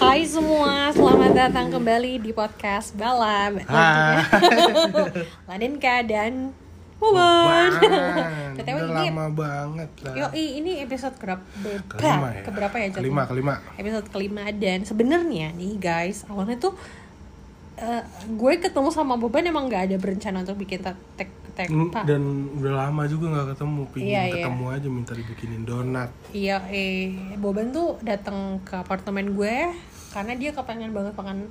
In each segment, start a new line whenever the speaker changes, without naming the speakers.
Hai semua, selamat datang kembali di podcast Balap
Hai.
Laninka dan Wawan
Bang,
BTW
udah
ini
lama banget lah.
Yoi, ini episode kerap
Kelima
berapa?
ya.
Keberapa ya? Jatuh?
Kelima, kelima.
Episode kelima dan sebenarnya nih guys awalnya tuh eh, gue ketemu sama Boban emang nggak ada berencana untuk bikin tek tek tek
Mm,
pak.
Dan udah lama juga nggak ketemu, pingin
Iya, iya.
ketemu aja minta dibikinin donat.
Iya, eh Boban tuh datang ke apartemen gue karena dia kepengen banget makan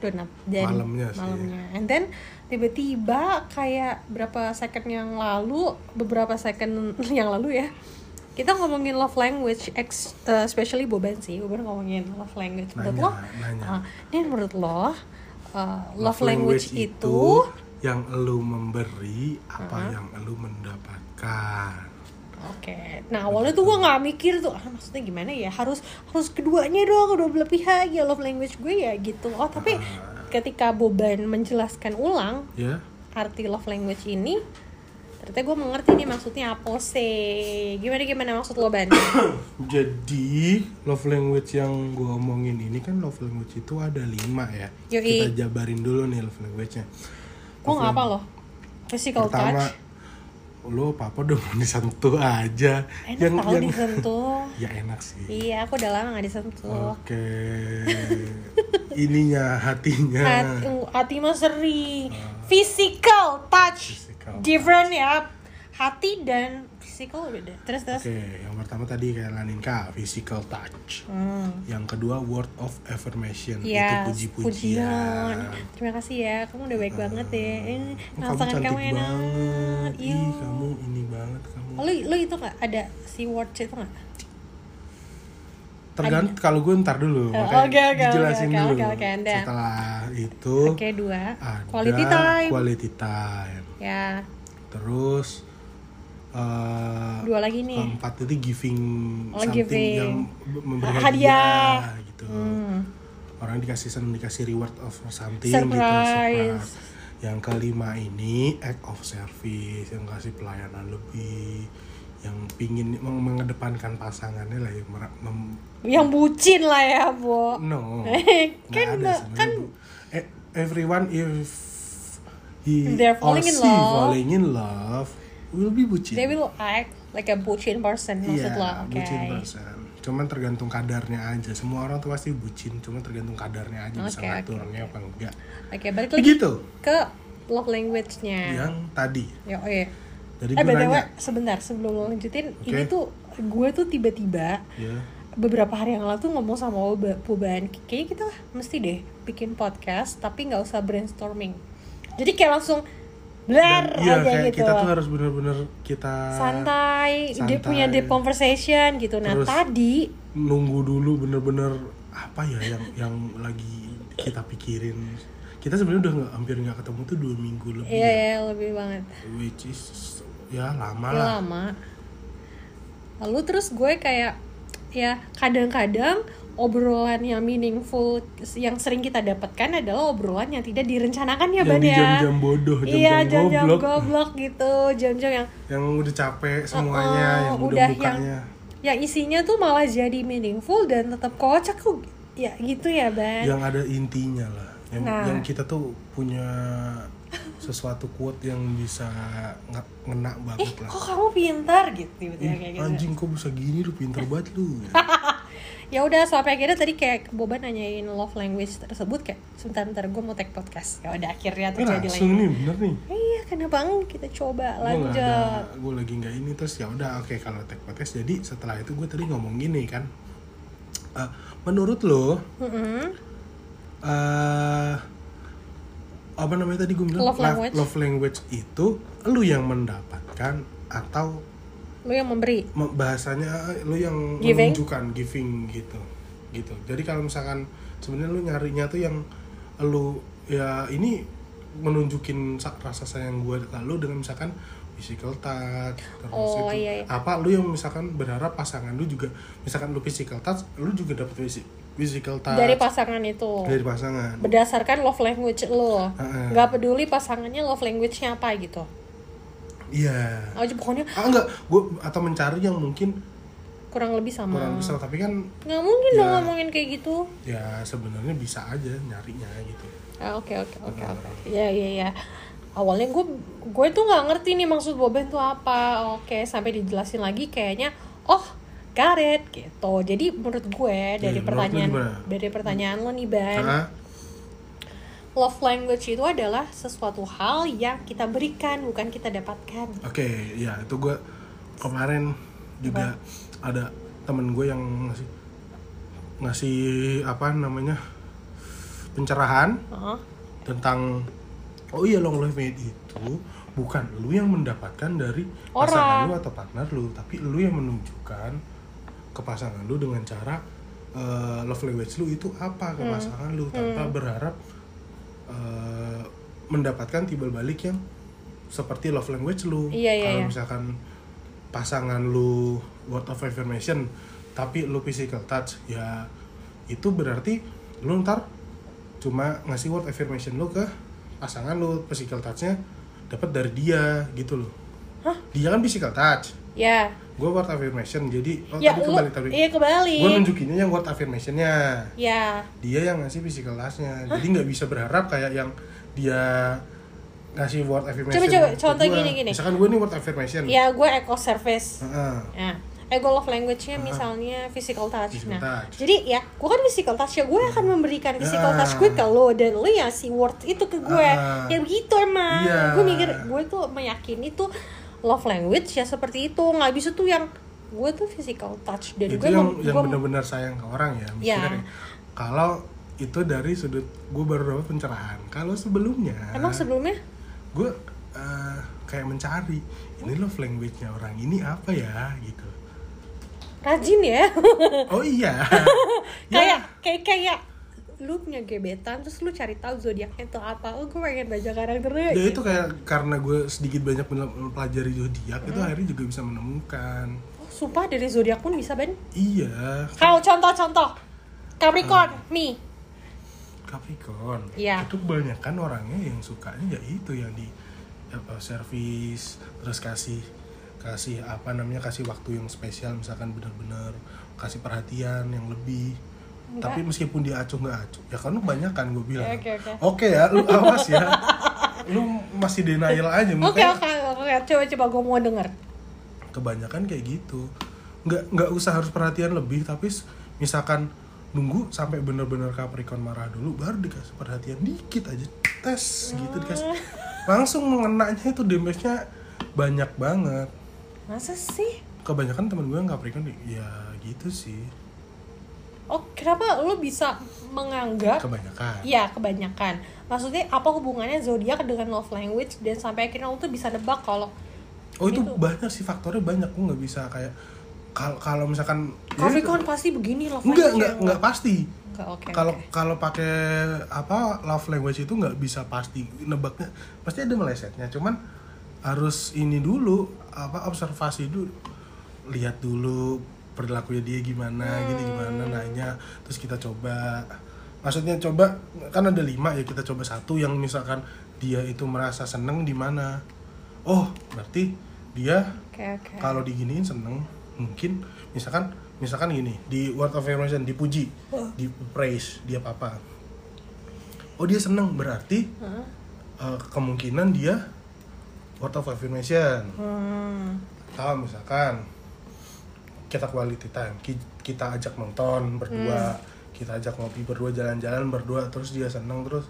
donat dan
Malamnya sih.
malamnya. And then tiba-tiba kayak berapa second yang lalu, beberapa second yang lalu ya, kita ngomongin love language, ex, eh, especially Boban sih, Boban ngomongin love language. Menurut
Nanya,
lo,
nanya.
ah, ini menurut lo eh, love, language, itu,
yang elu memberi apa yang elu mendapatkan.
Oke, nah awalnya tuh gue nggak mikir tuh, ah, maksudnya gimana ya harus harus keduanya dong kedua belah pihak ya love language gue ya gitu. Oh tapi ketika Boban menjelaskan ulang
Ya,
arti love language ini, ternyata gue mengerti nih maksudnya apa sih? Gimana gimana maksud lo Ban?
jadi love language yang gue omongin ini kan love language itu ada lima ya.
Yoi.
Kita jabarin dulu nih love language-nya.
Gue nggak apa loh, physical
Pertama,
touch,
lo papa udah mau disentuh aja.
enak tahu disentuh.
ya enak sih.
iya, aku udah lama nggak disentuh.
Oke. Ininya hatinya.
Hati, uh, hati mah seri, physical touch,
Physical
different ya. Hati dan physical beda. Terus terus.
Oke, yang pertama tadi kayak Laninka, physical touch.
Hmm.
Yang kedua word of affirmation,
Ya,
itu puji-pujian.
Terima kasih ya, kamu udah baik banget ya. Eh,
Oh, kamu
rangsangan
cantik
kamu enak. Oh,
banget.
Iya.
Ih, kamu ini banget kamu.
Lu, lu itu nggak ada si word itu nggak?
Tergantung kalau gue ntar
Oh,
dulu, makanya
oke, oke,
dijelasin
oke, oke,
dulu.
oke, anda.
Setelah itu
Oke dua.
Oh, ada
Quality time.
quality time.
ya,
Terus eh
dua lagi nih.
keempat itu giving
Oh,
something
giving.
yang memberi
Hadiah.
hadiah, gitu
Hmm.
orang dikasih senang dikasih reward of something gitu
Surprise.
surprise. yang kelima ini act of service yang kasih pelayanan lebih yang pingin meng- mengedepankan pasangannya lah yang mer- mem-
Yang bucin lah ya, Bo.
no
Kan
Nggak ada
nggak-
sebenarnya,
kan
Bu. E- everyone if he
They're
or
falling in
she
love.
falling in love will be bucin
they will act like a bucin person maksud
Iya,
lo. Oke.
bucin persen. Cuman tergantung kadarnya aja. Semua orang tuh pasti bucin, cuma tergantung kadarnya aja bisa
Oke,
ngaturnya apa enggak.
Oke, balik lagi
Begitu.
ke love language-nya.
Yang tadi.
Ya, oh iya.
Jadi
Nah. Eh,
gue
BTW,
nanya,
sebentar sebelum lo lanjutin,
Oke.
ini tuh gue tuh tiba-tiba
ya,
beberapa hari yang lalu tuh ngomong sama Oba- Boban, kayaknya kita mesti deh bikin podcast tapi nggak usah brainstorming. Jadi kayak langsung
dan-
blar
iya,
aja
kayak
gitu.
kita tuh harus bener-bener kita
santai, dia
santai.
punya deep conversation gitu. Nah,
Terus-
tadi
nunggu dulu bener-bener apa ya yang yang lagi kita pikirin. Kita sebenarnya udah nggak hampir nggak ketemu tuh dua minggu lebih.
ya,
ya.
ya lebih banget.
Which is ya lama
Ya,
lah.
lama lalu terus gue kayak ya kadang-kadang obrolan yang meaningful yang sering kita dapatkan adalah obrolan yang tidak direncanakan ya
Yang
ban
di
ya
jam-jam bodoh,
iya
jam-jam
jam-jam
goblok.
goblok gitu jam-jam yang
Yang udah capek semuanya,
Oh,
yang udah,
udah yang-
mukanya.
yang ya, isinya tuh malah jadi meaningful dan tetap kocak tuh ya gitu ya ban
yang ada intinya lah yang,
Nah.
yang kita tuh punya sesuatu quote yang bisa nge- ngena
ih
banget lah
Eh, kok kamu pintar gitu tiba-tiba kayak
ya. Ih,
gitu
anjing kok bisa gini lu pinter banget lu
ya udah sampai akhirnya tadi kayak Boba nanyain love language tersebut kayak sebentar ntar gue mau take podcast ya udah akhirnya
ini
terjadi lagi
Kan langsung nih bener nih
Iya, kenapa enggak kita coba
gue
lanjut?
gue lagi nggak ini terus ya udah oke kalau tag podcast jadi setelah itu gue tadi ngomong gini kan Eh, menurut lo
Mm-mm.
eh apa namanya tadi gue bilang
Love
La-
language.
love language itu lu yang mendapatkan atau
Lu yang memberi.
me- bahasanya eh, lu yang
Giving?
menunjukkan giving gitu gitu jadi kalau misalkan sebenarnya lu nyarinya tuh yang lu ya ini menunjukin sa- rasa sayang gue ke lu dengan misalkan physical touch terus
Oh,
itu.
iya, iya.
apa lu yang misalkan berharap pasangan lu juga misalkan lu physical touch lu juga dapet phys- physical touch
Dari pasangan itu.
Ah. dari Ah. pasangan
Berdasarkan love language lo.
Heeh.
Nggak peduli pasangannya love language-nya apa gitu.
iya
Oh, pokoknya
ah enggak gue atau mencari yang mungkin
kurang lebih sama
kurang besar tapi kan
nggak mungkin dong
Ya.
ngomongin kayak gitu
ya sebenarnya bisa aja nyarinya gitu
Ah, oke oke oke oke ya ya ya awalnya gue gue tuh nggak ngerti nih maksud boben tuh apa oke sampai dijelasin lagi kayaknya oh karet gitu jadi menurut gue dari
Iya, menurut lu
pertanyaan
gimana?
dari pertanyaan lo nih ban
Karena
love language itu adalah sesuatu hal yang kita berikan bukan kita dapatkan
oke ya itu gue kemarin juga ada temen gue yang ngasih ngasih apa namanya pencerahan
Heeh.
tentang oh iya long life mate itu bukan lu yang mendapatkan dari
Orang.
pasangan lu atau partner lu tapi lu yang menunjukkan ke pasangan lu dengan cara eh, love language lu itu apa ke pasangan lu tanpa berharap eh, mendapatkan timbal balik yang seperti love language lu
Iya, iya,
kalau
iya.
misalkan pasangan lu word of affirmation tapi lu physical touch ya itu berarti lu ntar cuma ngasih word affirmation lu ke pasangan lu physical touchnya dapat dari dia gitu loh dia kan physical touch
ya
gue word affirmation jadi oh,
ya
tadi
lu
kebalik tapi
iya kebalik
gue nunjukinnya yang word affirmationnya
ya
dia yang ngasih physical touchnya jadi nggak bisa berharap kayak yang dia ngasih word affirmation
Coba, coba,
ke
contoh
gua.
gini, gini.
misalkan gue nih word affirmation
ya gue eco service
Heeh.
Nah, eh gue love language-nya misalnya physical touch.
Hmm. Physical
nah,
touch.
jadi ya, gue kan physical touch ya, gue akan memberikan physical
Ah.
touch gue ke lo dan lo ya si word itu ke gue.
Ah.
Ya begitu emang.
Iya.
Gue mikir, gue tuh meyakini tuh love language ya seperti itu. Nggak bisa tuh yang gue tuh physical touch dan
itu
gue
yang
mem-
yang
gue-
benar-benar sayang ke orang ya
Ya.
mikirnya. kalau itu dari sudut gue baru dapat pencerahan kalau sebelumnya
Emang sebelumnya?
gue eh, kayak mencari ini love language-nya orang ini apa ya gitu
Rajin ya.
oh iya Ya,
kayak kayak kayak lu punya gebetan terus lu cari tahu zodiaknya tuh apa. Oh, gue pengen baca karakter
ya itu kayak karena gue sedikit banyak mel- mempelajari zodiak itu
Hmm.
akhirnya juga bisa menemukan
Oh, sumpah dari zodiak pun bisa Ben.
iya
Kalau contoh-contoh
Ah.
Capricorn, Mi.
Capricorn
Iya.
itu kebanyakan orangnya yang sukanya ya itu yang di apa, service terus kasih kasih apa namanya kasih waktu yang spesial misalkan benar-benar kasih perhatian yang lebih
Enggak.
tapi meskipun dia acuh nggak acuh ya kan lu banyak kan gue bilang
Oke, oke.
ya lu awas ya lu masih denial aja
Oke,
makanya
oke, oke. Coba coba gue mau denger.
kebanyakan kayak gitu nggak nggak usah harus perhatian lebih tapi s- misalkan nunggu sampai bener-bener Capricorn marah dulu baru dikasih perhatian dikit aja tes gitu dikasih langsung mengenanya itu damage-nya banyak banget
Masa sih?
kebanyakan temen gue yang Capricorn ya gitu sih
Oh, kenapa lu bisa menganggap
kebanyakan
ya kebanyakan? Maksudnya apa hubungannya zodiak dengan love language dan sampai akhirnya lu tuh bisa nebak kalau
oh itu
gitu.
banyak sih faktornya banyak gue nggak bisa kayak kal- kalau misalkan ya itu-
Capricorn ya? pasti begini love
enggak
language.
enggak enggak pasti
oke.
kalau
oke.
kalau pakai apa love language itu nggak bisa pasti nebaknya pasti ada melesetnya cuman harus ini dulu apa observasi dulu lihat dulu perilakunya dia gimana gitu gimana
Hmm.
nanya terus kita coba maksudnya coba kan ada lima ya kita coba satu yang misalkan dia itu merasa seneng di mana oh berarti dia
Oke, oke.
kalau diginiin seneng mungkin misalkan misalkan gini di word of affirmation dipuji
Oh.
di praise dia papa oh dia seneng berarti
Hah?
eh, kemungkinan dia word of affirmation
Hmm.
atau misalkan kita quality time ki- kita ajak nonton
Hmm.
berdua kita ajak ngopi berdua jalan-jalan berdua terus dia seneng terus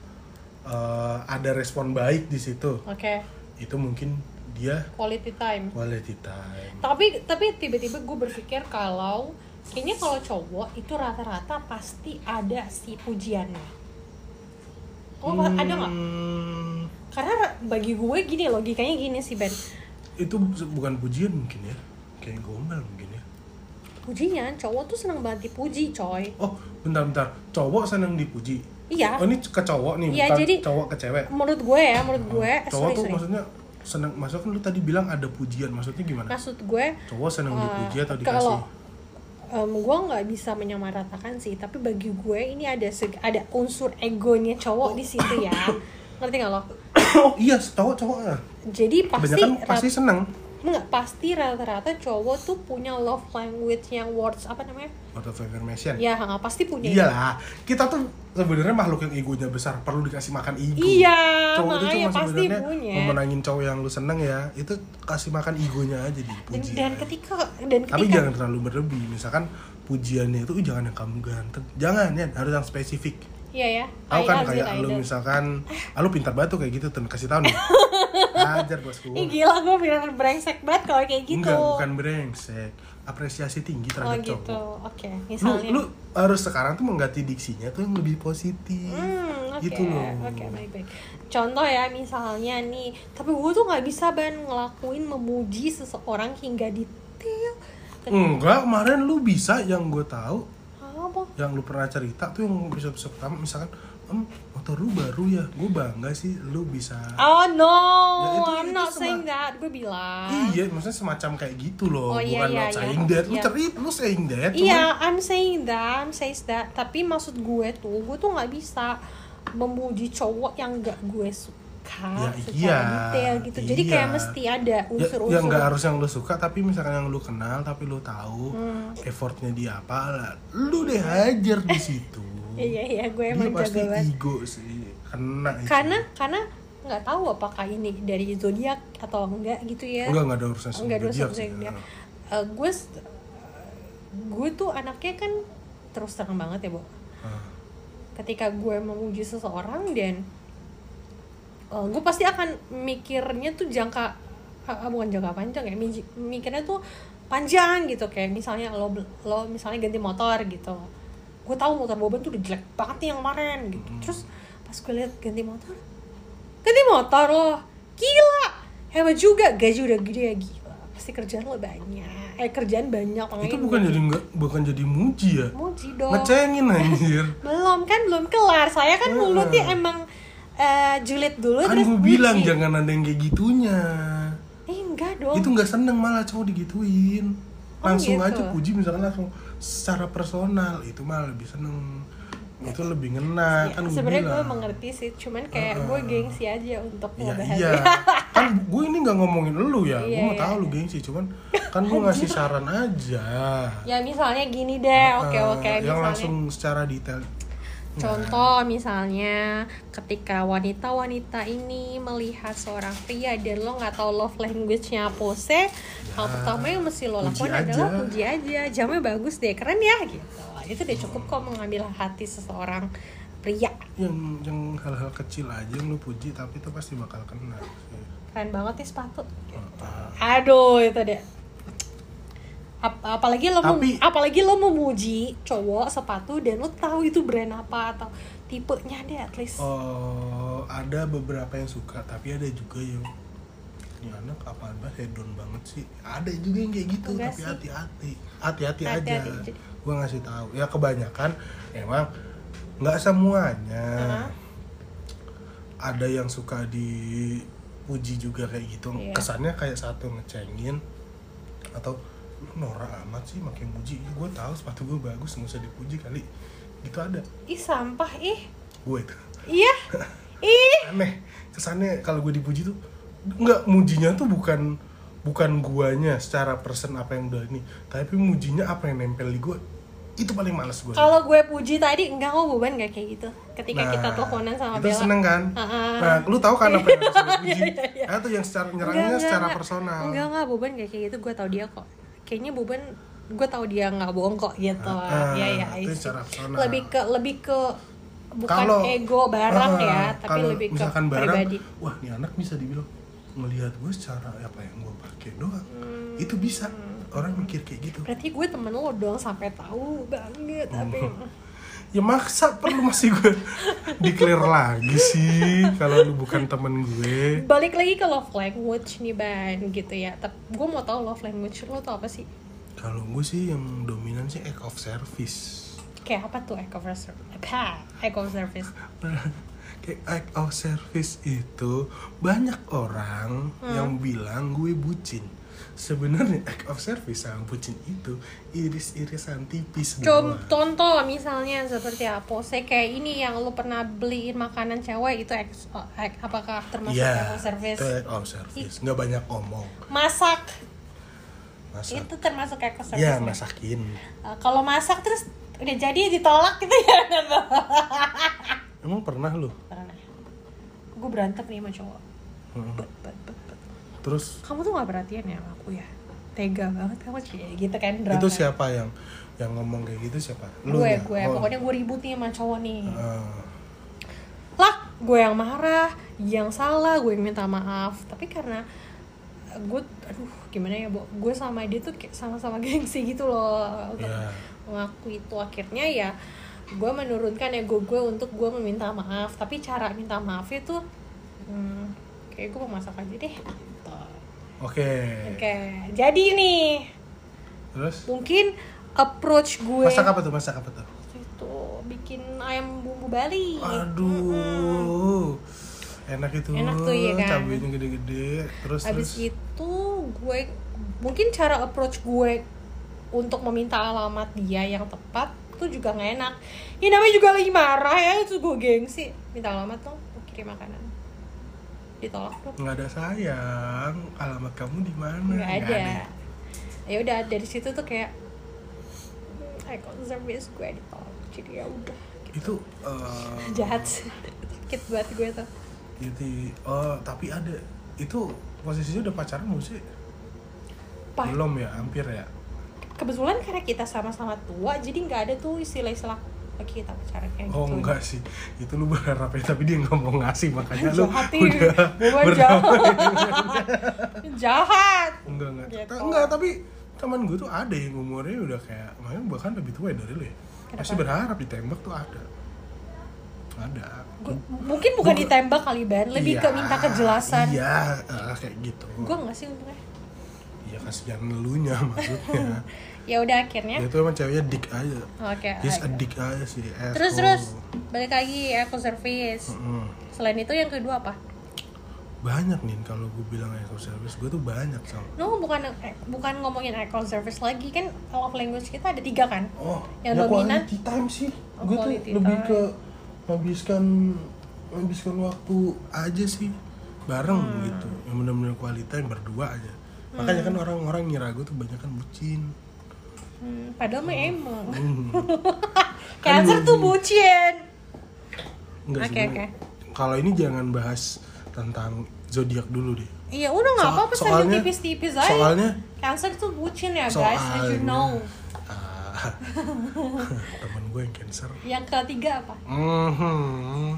eh, ada respon baik di situ
Oke,
itu mungkin dia
quality time.
quality time
tapi tapi tiba-tiba gue berpikir kalau kayaknya kalau cowok itu rata-rata pasti ada si pujiannya oh pa- ada nggak
Hmm,
karena ra- bagi gue gini logikanya gini sih Ben
itu bu- bukan pujian mungkin ya kayak gombal mungkin ya
pujian cowok tuh seneng banget dipuji coy
oh bentar-bentar cowok senang dipuji
iya
oh ini ke cowok nih
Iya,
bukan
jadi-
cowok ke cewek
menurut gue ya menurut gue eh,
Oh, cowok
sorry
tuh
sorry
maksudnya senang maksudnya kan lu tadi bilang ada pujian maksudnya gimana
maksud gue
cowok senang
eh,
dipuji atau dikasih
Nah. kalau em, gue nggak bisa menyamaratakan sih tapi bagi gue ini ada seg- ada unsur egonya cowok di situ ya ngerti nggak lo
oh iya cowok cowok
jadi pasti rat-
kebanyakan pasti senang
nggak pasti rata-rata cowok tuh punya love language yang words apa namanya
Word of affirmation.
ya nggak pasti punya
Iyalah, kita tuh sebenarnya makhluk yang egonya besar, perlu dikasih makan ego.
Iya,
Cowok itu
makanya
cuma
pasti
sebenarnya
punya.
memenangin cowok yang lu seneng ya, itu kasih makan egonya aja
dan,
dipuji.
dan ketika dan ketika
Tapi jangan terlalu berlebih. Misalkan pujiannya itu "Ih, jangan yang kamu ganteng. Jangan ya, harus yang spesifik.
iya ya
Aku kan
idol,
kayak
idol.
lu misalkan, ah, lu pintar banget tuh kayak gitu, tuh kasih tahu nih. Ajar bosku.
Ih gila gue beneran brengsek banget kalau kayak gitu.
Enggak, bukan brengsek. Apresiasi tinggi
Oh
terhadap
gitu,
cowok.
oke.
Lu,
Misalnya.
lu harus sekarang tuh mengganti diksinya tuh yang lebih positif.
Hmm, oke,
Gitu loh.
oke, baik-baik. Contoh ya, misalnya nih, tapi gue tuh nggak bisa ban ngelakuin memuji seseorang hingga detail.
Enggak, kemarin lu bisa yang gue tahu,
Apa?
yang lu pernah cerita tuh yang episode episode pertama misalkan, em motor lu baru ya, gue bangga sih lu bisa.
Oh no,
Ya, itu-
I'm
itu
not
sama-
saying that. Gue bilang.
Iya, maksudnya semacam kayak gitu loh,
Ah. Oh, iya,
bukan
iya,
not
iya.
saying that. Lu
Iya.
cerita, lu saying that, cuman
Iya, I'm saying that, I'm says that. Tapi maksud gue tuh, gue tuh nggak bisa memuji cowok yang gak gue suka
Ya,
secara
iya,
detail gitu. Jadi kayak
iya.
mesti ada
ya,
unsur-unsur.
yang nggak harus yang lu suka tapi misalkan yang lu kenal tapi lu tahu
Hmm.
effortnya dia apa lah lu deh hajar di situ
Iya iya, gue
dia
emang
pasti
jago banget.
ego sih kena itu.
Karena karena nggak tahu apakah ini dari zodiak atau enggak gitu ya.
enggak enggak ada urusan sama
Enggak dosa
zodiak sih.
zodiak. Eh, gue s- eh, gue tuh anaknya kan terus terang banget ya, Bu.
Heeh.
ketika gue memuji seseorang dan eh, gue pasti akan mikirnya tuh jangka ah, bukan jangka panjang ya miji- mikirnya tuh panjang gitu kayak misalnya lo bel- lo misalnya ganti motor gitu gue tahu motor Boban tuh udah jelek banget nih yang kemarin gitu
Hmm.
terus pas gue lihat ganti motor ganti motor lo gila hebat juga gaji udah gede ya gila pasti kerjaan lo banyak eh kerjaan banyak makanya
itu bukan jadi enggak bukan jadi muji ya
muji dong
ngecengin anjir
belum kan belum kelar saya kan
Heeh.
mulutnya emang eh, julid dulu
kan
terus
gue bilang
buci.
jangan ada yang kayak gitunya
eh, enggak dong
itu nggak seneng malah cowok digituin
Oh,
langsung
gitu.
aja puji misalkan langsung secara personal itu malah lebih seneng itu lebih ngena
Ya,
kan gue
sebenarnya gue
bilang. Ah,
mengerti sih cuman kayak gue gengsi aja untuk
Ya
ngebahas
iya. kan gue ini nggak ngomongin lu ya.
Iya,
gue mau
iya.
tahu lu gengsi, cuman kan gue ngasih saran aja.
ya misalnya gini deh Ya, oke
Eh,
oke
Yang
misalnya
langsung secara detail.
Contoh misalnya ketika wanita-wanita ini melihat seorang pria dan lo nggak tahu love language-nya pose, hal pertama yang mesti lo
puji
lakukan
Ah, aja.
adalah puji aja, jamnya bagus deh, keren ya gitu. Itu udah cukup kok mengambil hati seseorang pria.
Yang yang hal-hal kecil aja yang lu puji tapi itu pasti bakal kena.
Keren banget nih sepatu. Aduh itu deh. Ap- apalagi lo mem-
Tapi-
apalagi lo memuji cowok sepatu dan lo tahu itu brand apa atau tipenya deh at least.
Oh, ada beberapa yang suka tapi ada juga yang ini anak apaan bah hedon banget sih ada juga yang kayak gitu
Enggak
tapi
sih.
hati-hati hati-hati aja
Hati-hati aja.
gue ngasih tahu ya kebanyakan emang nggak semuanya
Heeh.
ada yang suka dipuji juga kayak gitu
Iya.
kesannya kayak satu ngecengin atau lu norak amat sih makin muji gue tahu sepatu gue bagus nggak usah dipuji kali gitu ada
Ih sampah ih.
gue itu
Iya. Ih,
aneh kesannya kalau gue dipuji tuh nggak mujinya tuh bukan bukan guanya secara persen apa yang udah ini tapi mujinya apa yang nempel di gue itu paling males gue
kalau gue puji tadi enggak kok Boban enggak kayak gitu. Ketika kita teleponan sama
Nah, itu
Bella.
seneng kan
Heeh.
nah lu tahu kan apa yang harus lu puji
Iya, iya, iya.
nah itu yang secara
Enggak,
nyerangnya
enggak,
secara
enggak.
personal
Enggak enggak Boban enggak kayak gitu. Gue tahu dia kok. Kayaknya Boban gue tahu dia nggak bohong kok gitu.
Ah,
Iya iya.
itu
I see.
secara personal.
Lebih ke lebih ke bukan
Kalau-
ego barang
Ah,
ya, tapi
kalau
lebih ke
misalkan barang,
pribadi.
wah ini anak bisa dibilang melihat gue secara apa yang gue pakai doang
Hmm.
itu bisa orang mikir kayak gitu
Berarti gue temen lo dong sampai tahu banget
Hmm.
tapi
ya maksa perlu masih gue declare lagi sih kalau lu bukan temen gue
balik lagi ke love language nih ban gitu ya. Tapi gue mau tahu love language lo tuh apa sih?
kalau gue sih yang dominan sih act of service
Kayak apa tuh eco service? Apa? Eco service.
kayak act of service itu banyak orang yang bilang gue bucin sebenarnya act of service sama bucin itu iris-irisan tipis doang.
contoh misalnya seperti apa saya kayak ini yang lu pernah beliin makanan cewek itu ex- oh, ex- apakah termasuk
Iya,
yeah. service
itu act of service. Nggak banyak omong.
masak
Masak.
itu termasuk eco service
Ya,
nggak?
masakin.
Eh, kalau masak terus udah jadi ditolak gitu ya
Emang pernah lu?
pernah gue berantem nih sama cowok
Heeh.
Bet, bet, bet, bet.
Hmm, Terus
kamu tuh gak perhatian ya sama aku ya tega banget kamu sih gitu kan drama
itu siapa yang yang ngomong kayak gitu siapa? Lu
gue
ya?
gue
Oh.
pokoknya gue ribut nih sama cowok nih
Ah,
lah gue yang marah yang salah gue yang minta maaf tapi karena eh, gue aduh gimana ya bu gue sama dia tuh kayak sama-sama gengsi gitu loh untuk
Iya.
mengakui itu akhirnya ya gue menurunkan ego gue untuk gue meminta maaf tapi cara minta maafnya tuh hmm, kayak gue mau masak aja deh gitu.
Oke.
oke jadi nih
Terus
mungkin approach gue
masak apa tuh? Masak apa tuh?
itu bikin ayam bumbu Bali
Aduh. Enak itu.
Enak tuh, iya kan?
Cabainya gede-gede. Terus
Habis
terus.
itu gue mungkin cara approach gue untuk meminta alamat dia yang tepat tuh juga nggak enak. Ini namanya juga lagi marah ya itu gue gengsi minta alamat dong, gue kirim makanan. Ditolak dong.
nggak ada sayang. Alamat kamu di mana?
Nggak
Nggak
ada. Ya udah dari situ tuh kayak hmm, I can't service gue ditolak. Jadi ya udah.
Itu eh,
Jahat sih. Sakit buat gue tuh.
Jadi, oh, tapi ada itu posisinya udah pacaran belum sih?
Pak,
Belum ya, hampir ya.
kebetulan karena kita sama-sama tua jadi nggak ada tuh istilah-istilah "Oke, kita pacaran kayak
Oh
gitu.
enggak sih, itu lu berharap ya, tapi dia nggak mau ngasih makanya lu
jahat nih
udah
Boban
berdamai.
jahat jahat
Enggak enggak.
Gitu.
Ta- Enggak tapi teman gue tuh ada yang umurnya udah kayak, makanya bahkan lebih tua dari lu ya.
Kenapa?
Masih berharap ditembak tuh ada. Ada.
Gua- mungkin bukan
Gua-
ditembak kali ban lebih
Iya,
ke minta kejelasan
Iya, eh, kayak gitu.
gue nggak sih untungnya
Iya kasihan elunya maksudnya.
ya udah akhirnya
Dia tuh emang ceweknya dik aja.
oke
He's a
oke.
dick aja sih.
terus
asshole.
terus balik lagi ya ke service
Mm.
selain itu yang kedua apa
banyak nih kalau gue bilang eco service gue tuh banyak sama
no bukan eh, bukan ngomongin alcohol service lagi kan love language kita ada tiga kan
oh
Yang dominan?
quality time sih
Oh,
gue tuh
quality
lebih
time.
ke menghabiskan menghabiskan waktu aja sih bareng
Hmm.
gitu yang benar-benar quality time berdua aja makanya kan orang-orang ngira gue tuh banyak kan bucin
Hmm, padahal mah emang
Hmm. Kan
cancer tuh bucin
enggak
Oke,
sih gue- kalau ini jangan bahas tentang zodiak dulu deh
iya udah nggak
So-
apa-apa sambil
soalnya-
tipis-tipis aja
soalnya
cancer tuh bucin ya guys
soalnya
did you know
Ah, temen gue yang cancer
yang ketiga apa
Mhm.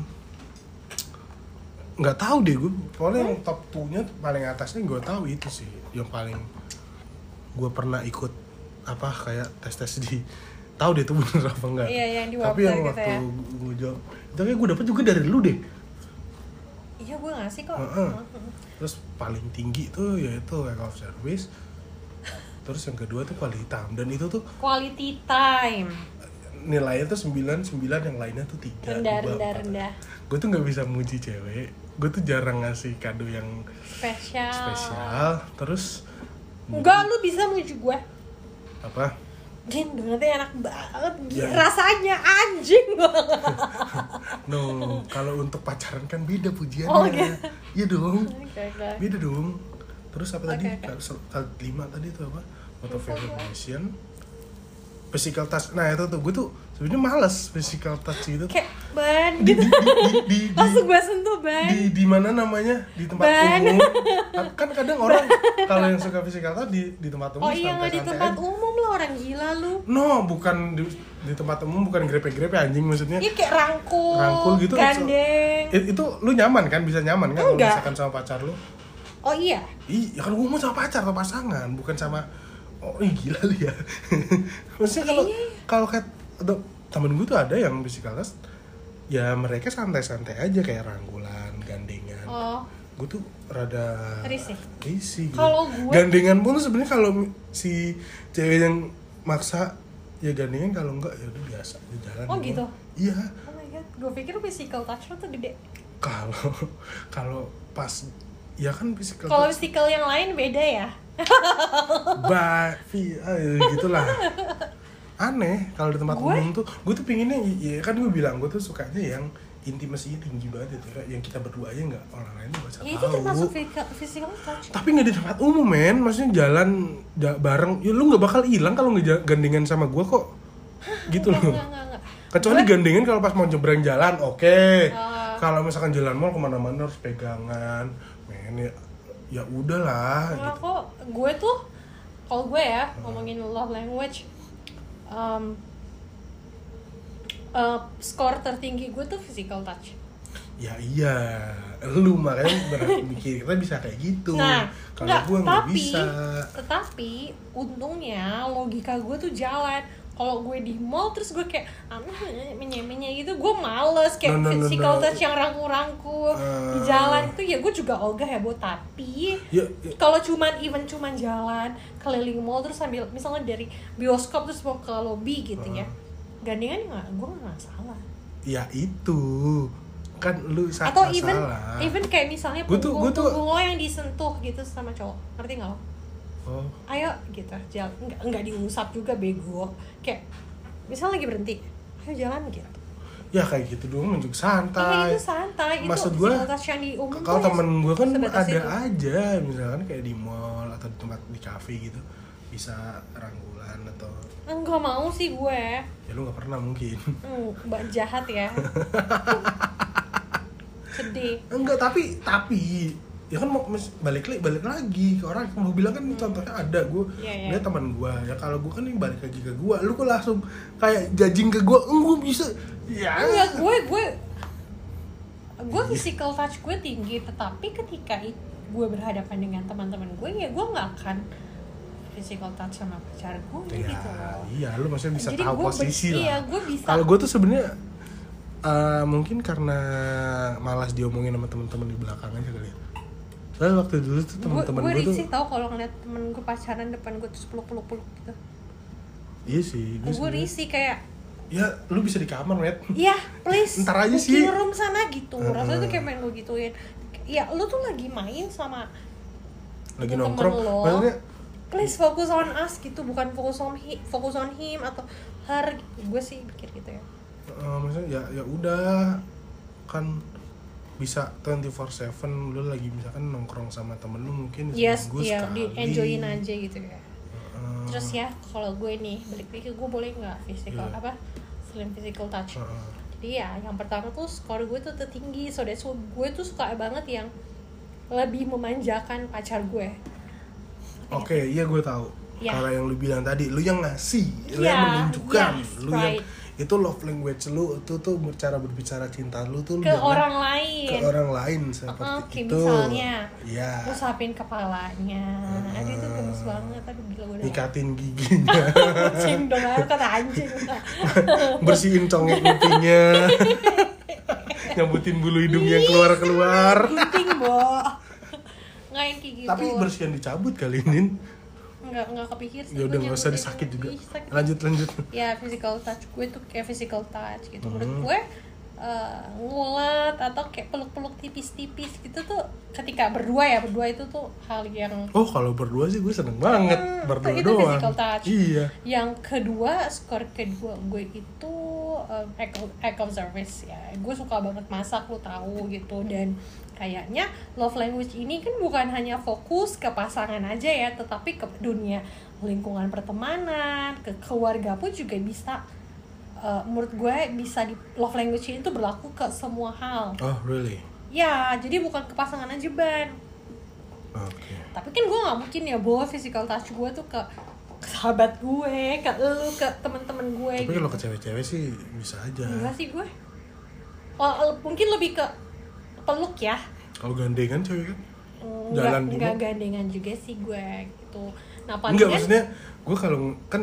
nggak tahu deh gue pokoknya yang top 2-nya paling atasnya gue tahu itu sih yang paling gue pernah ikut apa kayak tes tes di tahu deh itu bener apa enggak
Iya, yang di
tapi
Wapner
yang
gitu
waktu
ya.
gue jawab itu kayak gue dapet juga dari lu deh
Iya gue ngasih kok.
Heeh. terus paling tinggi tuh yaitu lack of service terus yang kedua tuh kualitas dan itu tuh
Quality time.
nilainya tuh 9, 9 yang lainnya tuh 3
Rendah rendah rendah.
gue tuh nggak bisa muji cewek gue tuh jarang ngasih kado yang
Spesial.
spesial terus
Enggak lu bisa muji gue.
apa
Din donatnya enak banget. Gi-
Ya.
Rasanya anjing banget.
no kalau untuk pacaran kan beda pujiannya
Oh, gitu.
iya dong
Oke, oke.
beda dong terus apa tadi
Oke, oke.
Kalau sel- kalau lima tadi tuh apa motor fashion physical touch nah itu tuh gue tuh sebenarnya males physical touch gitu di,
Kayak ban
di,
gitu.
di, di, di, di-
Langsung gue sentuh ban.
di di mana namanya di tempat
Ban.
umum Kan- kan kadang orang kalau yang suka physical touch di di tempat umum
Oh iya nggak di
santai-santai
tempat
aja.
umum lah orang gila lu.
no bukan di, di tempat umum bukan grepe-grepe anjing maksudnya
Iya kayak rangkul.
Rangkul gitu, it's-
Gandeng.
I- itu lu nyaman kan bisa nyaman kan kalau
Enggak.
misalkan sama pacar lu
Oh iya.
Ih, ya kan gue mau sama pacar atau pasangan, bukan sama oh ih, gila lu ya. Maksudnya kalau
Iya,
kalau kayak ada- temen gue tuh ada yang physical touch, ya mereka santai-santai aja kayak rangkulan, gandengan.
Oh.
Gue tuh rada
Risih.
Risih. gitu.
Kalau gue-
gandengan pun sebenarnya kalau mi- si cewek yang maksa ya gandengan kalau enggak ya udah biasa aja jalan.
Oh, gitu?
Iya.
Oh my god. Gue pikir physical touch lu tuh gede.
Kalau kalau pas ya kan physical
Kalau
touch-
physical yang lain beda ya.
Bavi, ah, ya gitulah. Aneh kalau di tempat
Gue?
umum tuh, gue tuh pinginnya, ya kan gue bilang gue tuh sukanya yang gitu intimasinya tinggi banget itu, yang kita berdua aja nggak orang lain tuh nggak usah
ya itu termasuk
tahu.
physical, physical touch
Tapi nggak di tempat umum men, maksudnya jalan ja- bareng, ya lu nggak bakal hilang kalau nggak ja- gandengan sama gue kok, gitu
Enggak,
loh.
enggak, enggak, enggak.
Kecuali gandengan kalau pas mau nyebrang jalan, oke.
Ah.
Kalau misalkan jalan mall kemana-mana harus pegangan, men ya, ya udahlah.
Nah,
gitu.
kok gue tuh kalau gue ya ngomongin love language um, uh, skor tertinggi gue tuh physical touch.
Ya iya, lu makanya berarti mikir kita bisa kayak gitu.
Nah,
kalau
enggak,
gua nggak
tapi
bisa.
tetapi untungnya logika gue tuh jalan. Kalau gue di mall terus gue kayak ah, menye-menye gitu, gue males kayak
No, no, no,
physical
no.
touch yang rangku-rangku di
Ah.
jalan itu ya gue juga ogah ya, Bo, tapi
Ya, ya,
kalau cuman even cuman jalan keliling mall terus sambil misalnya dari bioskop terus mau ke lobby gitu ya gandengan nggak gue nggak masalah
ya itu kan lu salah.
atau even even kayak misalnya
Gua tuh-
punggung
gua tuh-
punggung lo yang disentuh gitu sama cowok ngerti nggak lo
Oh,
ayo gitu jalan nggak nggak diusap juga bego kayak misalnya lagi berhenti ayo jalan gitu
ya kayak gitu doang menunjuk
Iya
santai.
itu santai itu
Maksud gua,
fasilitas yang di umum
kalau
tuh ya
temen gue kan
sebatas
ada
itu.
aja misalkan kayak di mall atau di tempat di cafe gitu bisa rangkulan atau
nggak mau sih gue
ya lu nggak pernah mungkin
Hmm, mbak jahat ya sedih
enggak tapi tapi ya kan mau mes- balik li- balik lagi ke orang mau bilang kan contohnya ada gue
Hmm. Iya, iya.
lihat teman gue ya kalau gue kan ini balik lagi ke gue lu kok langsung kayak judging ke gue gue bisa ya
Enggak, gue gue gue physical touch gue tinggi tetapi ketika i- gue berhadapan dengan teman-teman gue ya gue nggak akan physical touch sama pacar gue
ya
gitu loh
iya lu maksudnya bisa
Jadi
tahu
gue
posisi
ber-
lah
iya, gue bisa.
kalau gue tuh sebenarnya eh, mungkin karena malas diomongin sama teman-teman di belakangan aja kali ya Soalnya waktu dulu tuh
gue
teman-teman
gue
gue tuh
risih tau kalau ngeliat temen gue pacaran depan gue terus peluk peluk peluk gitu
iya sih gua
gue
sebenarnya-
risih kayak
ya lu bisa di kamar met
ya please
Ntar aja
booking
sih.
room sana gitu
Heeh.
rasanya tuh kayak main gue gituin ya lu tuh lagi main sama
lagi
temen
nongkrong
lo.
maksudnya
please focus on us gitu bukan fokus on he, fokus on him atau her gue sih pikir gitu ya
Eh, maksudnya ya ya udah kan bisa 24/7 lu lagi misalkan nongkrong sama temen lu mungkin
yes
seminggu
iya di
sekali.
enjoyin aja gitu ya
Heeh.
terus ya kalau gue nih balik lagi gue boleh nggak physical
Iya.
apa selain physical touch
Heeh.
jadi ya yang pertama tuh skor gue tuh tertinggi so that's why gue tuh suka banget yang lebih memanjakan pacar gue
oke iya gue tahu
Iya.
kalau yang lu bilang tadi lu yang ngasih lu
Iya,
yang menunjukkan
yes,
lu yang
right.
itu love language lu itu tuh cara berbicara cinta lu tuh
ke
jangan
orang
Oh, iya. ke
lain
orang lain seperti
Heeh, kayak
itu
misalnya,
ya
usapin kepalanya aduh itu gemes banget aduh gila gue udah
nikatin giginya
kucing dong aduh, kata anjing
bersihin congek pipinya nyabutin bulu hidungnya yang keluar keluar
penting bo nggak yang kayak gitu
tapi bersihan dicabut kali ini
nggak nggak kepikir sih
ya udah
Gua
nggak usah
nyebutin.
disakit juga
Ih, sakit.
lanjut lanjut
ya physical touch gue tuh kayak physical touch gitu menurut
Hmm.
gue eh, ngulet atau kayak peluk-peluk tipis-tipis gitu tuh ketika berdua ya berdua itu tuh hal yang
oh kalau berdua sih gue seneng banget
Hmm,
berdua
itu
doang
physical touch.
iya
yang kedua skor kedua gue itu um, act, of, act of service ya gue suka banget masak lo tahu gitu dan kayaknya love language ini kan bukan hanya fokus ke pasangan aja ya tetapi ke dunia lingkungan pertemanan ke keluarga pun juga bisa uh, menurut gue bisa di love language ini tuh berlaku ke semua hal
oh really
ya jadi bukan ke pasangan aja ban
oke
tapi kan gue nggak mungkin ya bawa physical touch gue tuh ke, ke sahabat gue ke lu ke temen-temen gue
tapi
gitu. Iya.
kalau ke cewek-cewek sih bisa
enggak
aja
sih gue oh, el- mungkin lebih ke peluk ya
kalau gandengan cewek kan
enggak
Jalan di
enggak
mall.
gandengan juga sih gue gitu nah
Enggak
palingan
maksudnya gue kalau kan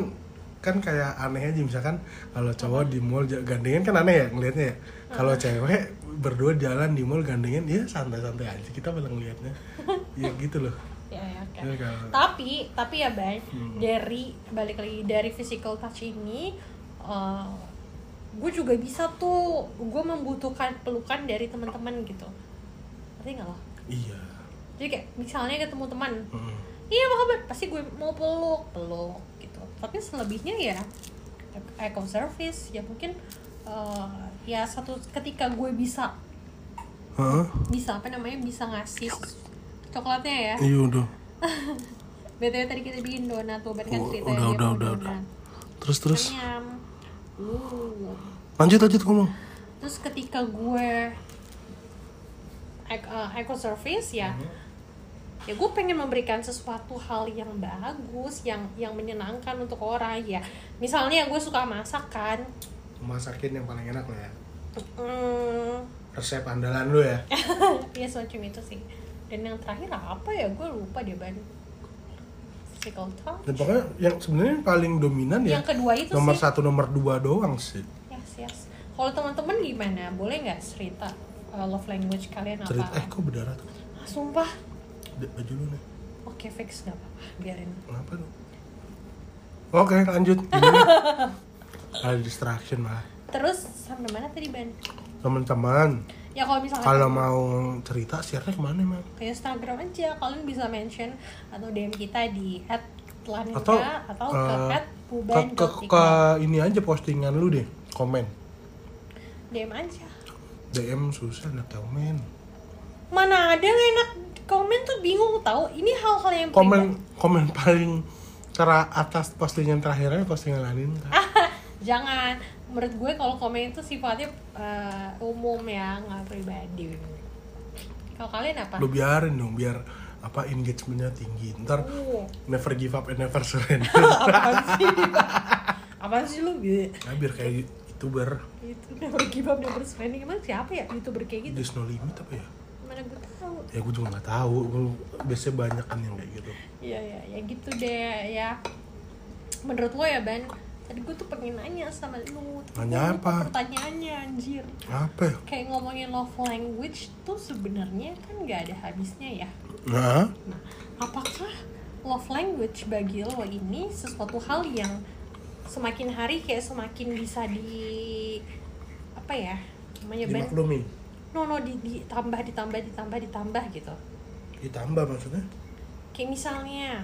kan kayak aneh aja misalkan kalau cowok di mall ja- gandengan kan aneh ya ngelihatnya ya. Kalau cewek berdua jalan di mall gandengan ya santai-santai aja kita malah ngelihatnya. ya gitu loh.
ya, ya, oke.
Ya, kalau-
tapi tapi ya bang
Hmm.
dari balik lagi dari physical touch ini eh, gue juga bisa tuh gue membutuhkan pelukan dari teman-teman gitu ngerti nggak lo
Iya.
jadi kayak misalnya ketemu teman
Mm.
iya apa kabar pasti gue mau peluk peluk gitu tapi selebihnya ya act of service ya mungkin eh, ya satu ketika gue bisa
Hah?
bisa apa namanya bisa ngasih coklatnya ya
Iya udah.
btw tadi kita bikin donat tuh Ben kan
Oh,
cerita dia
udah, udah,
mau
udah, udah.
donat.
Terus terus.
Kenyam. Uh.
Lanjut lanjut ngomong.
terus ketika gue ek- eh, eco service ya
Mhm.
ya gue pengen memberikan sesuatu hal yang bagus yang yang menyenangkan untuk orang ya misalnya gue suka kan, masakan
Masakin yang paling enak lo ya.
hmm,
Resep andalan lo ya.
ya semacam itu sih dan yang terakhir apa ya gue lupa dia ban physical touch
Dan pokoknya yang sebenarnya yang paling dominan ya.
yang kedua itu
Nomor
sih
satu nomor dua doang sih.
yes, yes. kalau teman-teman gimana boleh nggak cerita uh, love language kalian
Cerita eh
apa
kok berdarah tuh.
sumpah
Dek, Baju lu nih.
oke fix nggak apa-apa biarin
Kenapa lu? Oke lanjut. Gimana? Ada distraction lah.
terus sampai mana tadi ban
Teman-teman,
ya kalau misalnya
kalau mau cerita share-nya kemana emang?
ke Instagram aja kalian bisa mention atau DM kita di @laninka atau,
Atau,
ke
eh, Ke,
@buban
ke, ke ini aja postingan lu deh, komen.
DM aja
DM susah nak komen.
mana ada yang enak komen tuh bingung tahu ini hal-hal yang
Komen komen paling cara atas postingan terakhirnya postingan lain.
Ah. pribadi. jangan menurut gue kalau komen itu sifatnya eh, umum ya nggak pribadi kalau kalian apa Oh.
Lu biarin dong biar apa engagementnya tinggi. Ntar
Uh,
never give up and never surrender.
apaan sih apaan sih lu gitu
Nah, biar kayak youtuber
itu never give up never spending emang siapa ya youtuber kayak gitu
there's no limit apa ya?
mana gue tahu
Ya gue juga nggak tahu. Gua- Biasanya banyak kan yang kayak gitu.
Iya ya, ya gitu deh ya. Menurut lo ya Ban, tadi gue tuh pengen nanya sama lu. tapi
Nanya
gua lupa
apa?
Pertanyaannya anjir.
Apa? ya?
Kayak ngomongin love language tuh sebenarnya kan nggak ada habisnya ya.
Nah,
Nah, apakah love language bagi lo ini sesuatu hal yang semakin hari kayak semakin bisa di apa ya namanya Ban?
dimaklumi.
No no di- ditambah ditambah ditambah ditambah gitu.
Ditambah Ya, maksudnya?
Kayak misalnya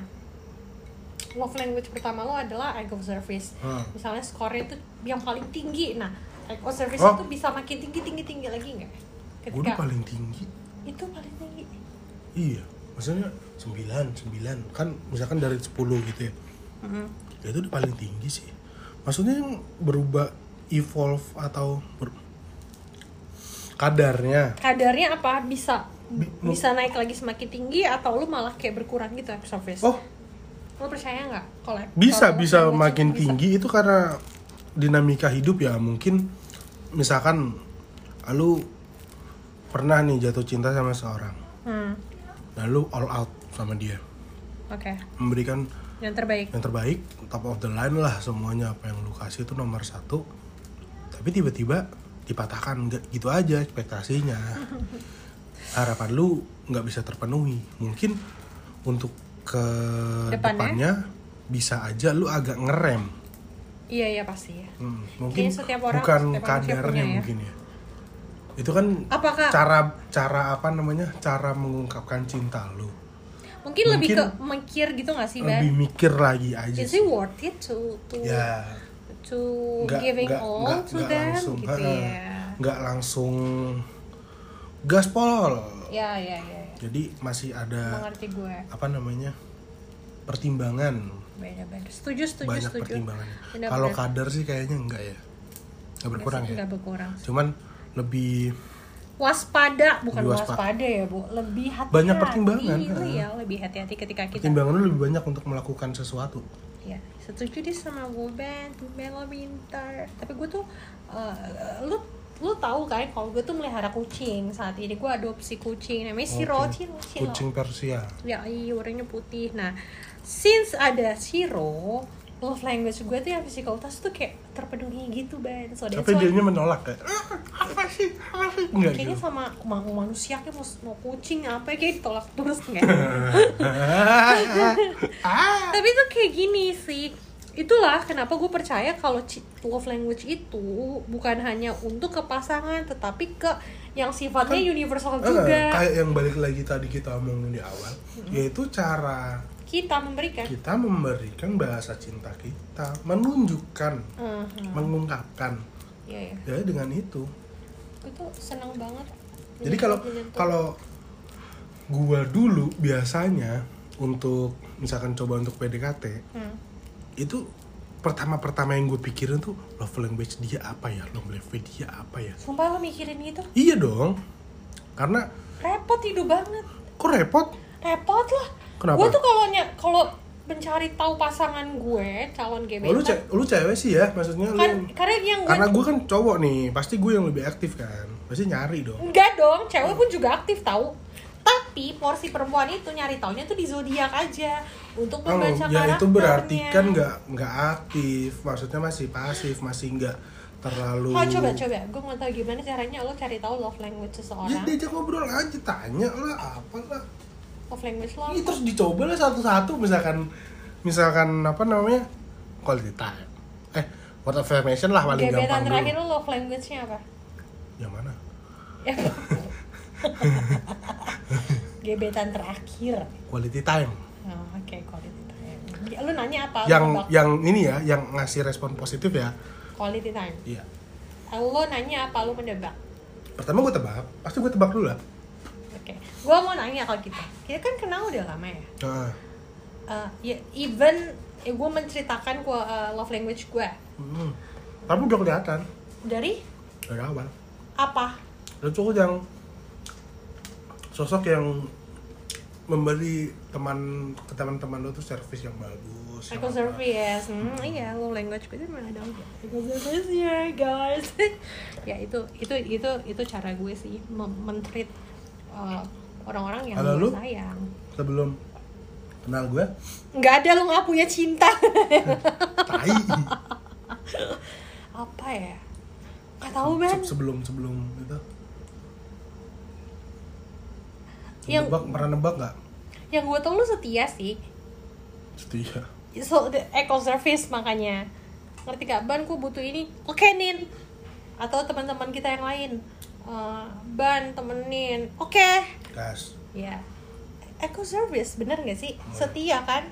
love language pertama lo adalah act of service.
Hah.
Misalnya skornya itu yang paling tinggi. Nah, act of service
Oh.
itu bisa makin tinggi tinggi tinggi lagi nggak?
Gue udah
Ketika
paling tinggi.
itu paling tinggi.
Iya, maksudnya 9, 9 kan misalkan dari 10 gitu ya.
Mm-hmm.
Ya itu udah paling tinggi sih. Maksudnya yang berubah evolve atau ber- kadarnya
Kadarnya apa bisa
Bi-
bisa naik lagi semakin tinggi atau lo malah kayak berkurang gitu act of service?
Oh,
Lo percaya nggak? Kalau act-
bisa
kalau love
bisa
language itu
makin
bisa.
tinggi itu karena dinamika hidup ya. Mungkin misalkan lu pernah nih jatuh cinta sama seorang.
Hmm,
Lalu all out sama dia.
oke.
Memberikan
Yang terbaik.
yang terbaik top of the line lah semuanya apa yang lu kasih itu nomor satu tapi tiba-tiba dipatahkan nggak gitu aja ekspektasinya harapan lu nggak bisa terpenuhi mungkin untuk ke
Depannya?
depannya bisa aja lu agak ngerem
Iya iya pasti. ya.
Hmm, mungkin
Kayaknya setiap orang-
bukan
setiap manusia
kadarnya
punya ya.
mungkin ya itu kan
Apakah
cara cara apa namanya cara mengungkapkan cinta lu
mungkin, lebih ke
mungkin-
mikir gitu nggak sih, Ban?
lebih mikir lagi aja
Is
sih
it worth it to to
ya
to
Nggak-
giving
nggak-
all
nggak-
to
nggak
them
langsung,
gitu
heeh.
ya.
nggak langsung gaspol
Ya ya ya. ya.
jadi masih ada
Mengerti gue.
apa namanya pertimbangan
Benar-benar. Setuju setuju
banyak
setuju.
pertimbangan
Benar,
kalau
benar.
kadar sih kayaknya enggak ya nggak berkurang ya
Nggak berkurang.
cuman lebih
Waspada bukan
Lebih waspa-
waspada, ya bu, lebih hati-hati.
Banyak pertimbangan,
Iya,
heeh.
ya, lebih hati-hati ketika kita.
pertimbangan lu lebih banyak untuk melakukan sesuatu
Ya, setuju deh sama gue Ben, Ben lo pintar. Tapi gue tuh, eh, lu lu tahu kan kalau gue tuh melihara kucing saat ini gue adopsi kucing namanya si Siro
Oke.
Ciro, Ciro.
kucing Persia
ya iya warnanya putih nah since ada Shiro love language gue tuh yang physical touch tuh kayak terpenuhi gitu ban so that's
tapi
why-
dia menolak kayak "Ah, apa sih apa sih enggak
kayaknya
gitu
sama mau manusia kayak mau, mau kucing apa kayak ditolak terus kayak
Ah.
tapi tuh kayak gini sih itulah kenapa gue percaya kalau ci- love language itu bukan hanya untuk ke pasangan tetapi ke yang sifatnya
Kan-
universal
Eh,
juga
kayak yang balik lagi tadi kita omongin di awal yaitu cara
kita memberikan
kita memberikan bahasa cinta kita menunjukkan
Heeh.
mengungkapkan
iya ya
ya dengan itu
gue tuh seneng banget
jadi kalau
Menyentuh- menyentuh.
kalau gua dulu biasanya untuk misalkan coba untuk PDKT
Hmm.
itu pertama-pertama yang gue pikirin tuh love language dia apa ya love language dia apa ya
sumpah lo mikirin gitu
iya dong karena
repot hidup banget
kok repot
repot lah
Kenapa?
gue tuh kalau ny- kalau mencari tahu pasangan gue calon
Oh,
gebetan
lu, ce- lu cewek sih ya maksudnya
kan
lu
karena yang gue
karena gue kan cowok nih pasti gue yang lebih aktif kan pasti nyari dong
enggak dong cewek pun juga aktif tahu tapi porsi perempuan itu nyari taunya tuh di zodiak aja untuk
Oh,
membaca
ya itu
karakternya.
berarti kan nggak nggak aktif maksudnya masih pasif masih nggak terlalu
Oh coba coba, gue mau tahu gimana caranya lo cari tahu love language
Ya,
seseorang.
diajak ngobrol aja tanya lah apa lah
Love language lo.
Ini terus dicoba lah satu-satu misalkan misalkan apa namanya quality time eh word affirmation lah paling
Gebetan
gampang
terakhir
dulu
lo love language-nya apa?
yang mana
Ya. Gebetan terakhir.
quality time
Oh, Oke, quality time. Ya, Lu nanya apa? Lu
yang
tebak.
yang ini ya yang ngasih respon positif ya
quality time.
iya
Lo nanya apa? Lu mendebak.
pertama gue tebak pasti gue tebak dulu lah
Oke. Gua mau nanya kalau kita. Kita kan kenal udah lama ya.
nah,
Eh, ya even eh, gue menceritakan gua, eh, love language gue
hmm. tapi udah kelihatan
dari
dari awal
apa?
dan cukup yang sosok yang memberi teman ke teman-teman lo tuh service yang bagus yang
Michael
apa.
Service. Hmm, iya, love language gue itu memang ada Michael Service ya, guys. ya itu itu itu itu cara gue sih mem- mentreat eh, orang-orang yang
Halo,
gue
lu?
sayang.
sebelum kenal gue
Nggak ada lo nggak punya cinta.
tai
apa ya? Nggak tahu
Se-
Oh, Ben.
sebelum sebelum itu
Yang-
nebak pernah nebak nggak
Yang gue tau lu setia sih.
setia
So the eco service makanya. Ngerti gak ban? Gue butuh ini. Oke nin. Atau teman-teman kita yang lain. Eh, ban temenin. Oke.
gas
Ya. Eco service bener gak sih? Setia kan?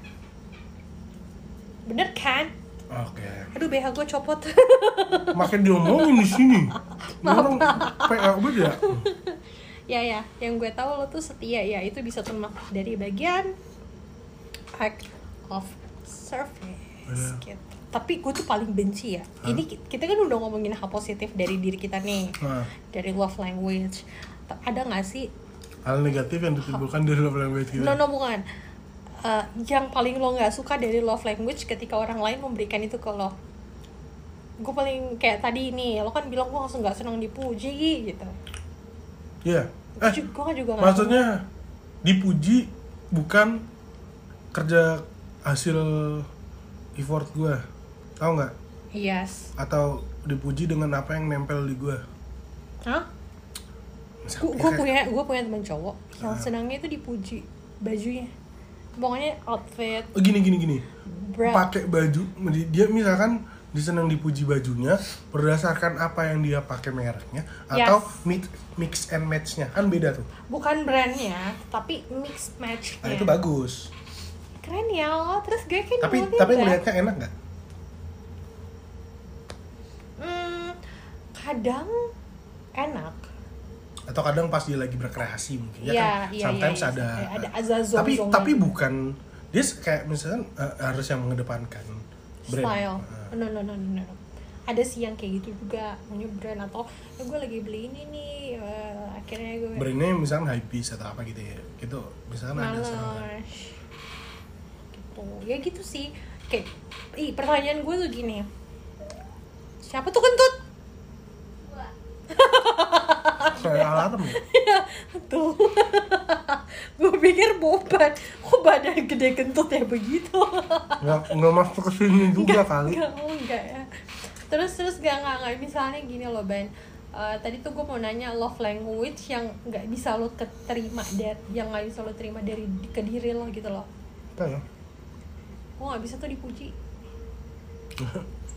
Bener kan?
oke
Aduh BH gue copot.
makin diomongin di sini Ini orang PL beda
ya ya, yang gue tahu lo tuh setia ya itu bisa termasuk dari bagian act of service.
Iya.
Gitu. Tapi gue tuh paling benci ya. Ini ki- kita kan udah ngomongin hal positif dari diri kita nih,
nah
dari love language. T- Ada nggak sih
hal negatif yang ditimbulkan dari love language kita
No, no, bukan. Eh, yang paling lo nggak suka dari love language ketika orang lain memberikan itu ke lo. Gue paling kayak tadi ini, lo kan bilang gue langsung nggak senang dipuji gitu.
iya eh
gue kan juga nggak.
maksudnya dipuji bukan kerja hasil effort gue tau nggak
Yes.
atau dipuji dengan apa yang nempel di gue
Hah? Gue punya, gue punya teman cowok yang senangnya itu dipuji bajunya. Pokoknya outfit,
gini gini gini
bra.
pakai baju dia misalkan disenang dipuji bajunya berdasarkan apa yang dia pakai mereknya atau mix mix and matchnya kan beda tuh
Bukan brandnya, tapi mix match
nah, itu bagus
Keren ya lo. Terus gue kan
tapi
ngeliatnya
tapi
bra.
ngelihatnya enak nggak
Hmm, kadang enak.
atau kadang pas dia lagi berkreasi mungkin ya,
Iya,
kan
iya, iya,
sometimes
iya.
ada
Kayak ada azazong-zongan.
tapi tapi bukan dia se- kayak misalkan eh, harus yang mengedepankan brand
style
Eh,
no no no no no, no. ada sih yang kayak gitu juga punya brand atau "Eh, gue lagi beli ini nih eh, akhirnya gue
brandnya misalkan high piece atau apa gitu ya gitu misalkan ada
males
sama
gitu ya gitu sih kayak ih pertanyaan gue tuh gini siapa tuh kentut
kayak alarm ya
tuh gue pikir boban kok badan gede kentut ya begitu
nggak nggak masuk ke sini juga kali
Enggak, oh, enggak ya. Terus terus enggak enggak, enggak. misalnya gini loh Ben. Eh, tadi tuh gue mau nanya love language yang nggak bisa lo keterima dari yang nggak bisa lo terima dari ke diri lo gitu loh.
Apa ya
Gue nggak bisa tuh dipuji.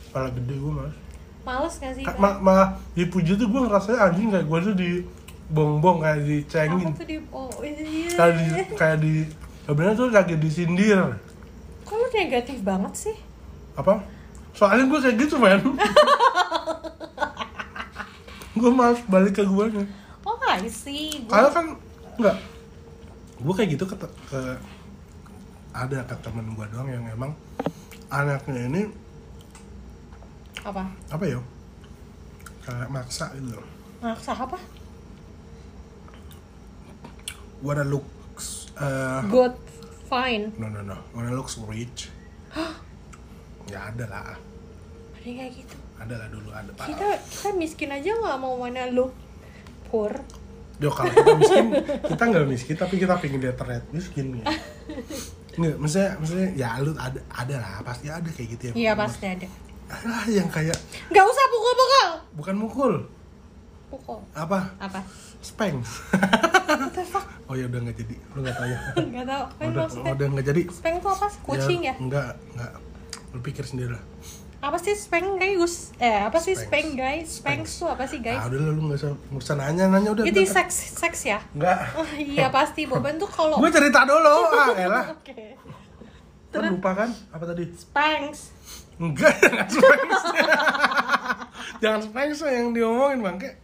Kepala gede gue mas
Males gak sih?
Ka-
Ben?
ma malah dipuji tuh gue ngerasanya anjing kayak gue tuh di bongbong kayak dicengin
Apa tuh di oh iya.
kayak di kayak di sebenarnya tuh lagi disindir
Kok lu negatif banget sih?
apa soalnya gue kayak gitu men gue maaf balik ke gue nih
Oh, I see.
karena
Gua...
kan enggak gue kayak gitu ke, te- ke- ada ke temen gue doang yang emang anaknya ini
Apa?
apa ya kayak maksa gitu loh
Maksa Nah, apa?
wanna looks uh,
Good. Fine.
no no no wanna looks rich ya ada lah
Ada yang kayak gitu.
ada lah dulu ada pak
Kita kita miskin aja nggak mau mana lu poor.
Yo kalau kita miskin, kita nggak miskin tapi kita pengen lihat terlihat miskin ya. Nggak, maksudnya, maksudnya ya lu ada, ada lah, pasti ada kayak gitu ya.
Iya pasti ada.
Ada yang kayak
Nggak usah pukul-pukul.
bukan mukul,
Pukul.
apa?
Apa?
Spank.
What the fuck?
Oh ya udah nggak jadi, lu nggak tanya.
Nggak tahu. Kan
udah,
maksudnya.
udah nggak jadi.
Speng tuh apa? Kucing ya?
Nggak, nggak. Lu pikir sendiri lah.
Apa sih speng guys? Eh apa sih
Spanx.
speng guys? Speng tuh apa sih guys?
Ah udah lah, lu nggak usah nggak usah nanya, nanya udah. Eh.
Itu
nggak
seks seks ya?
Nggak.
Oh, iya pasti Boban tuh kalau
Gue
Oke.
cerita dulu, ah elah. Kan lupa kan apa tadi?
Spanks.
Enggak, jangan Spanx. Jangan Spanx yang diomongin bangke.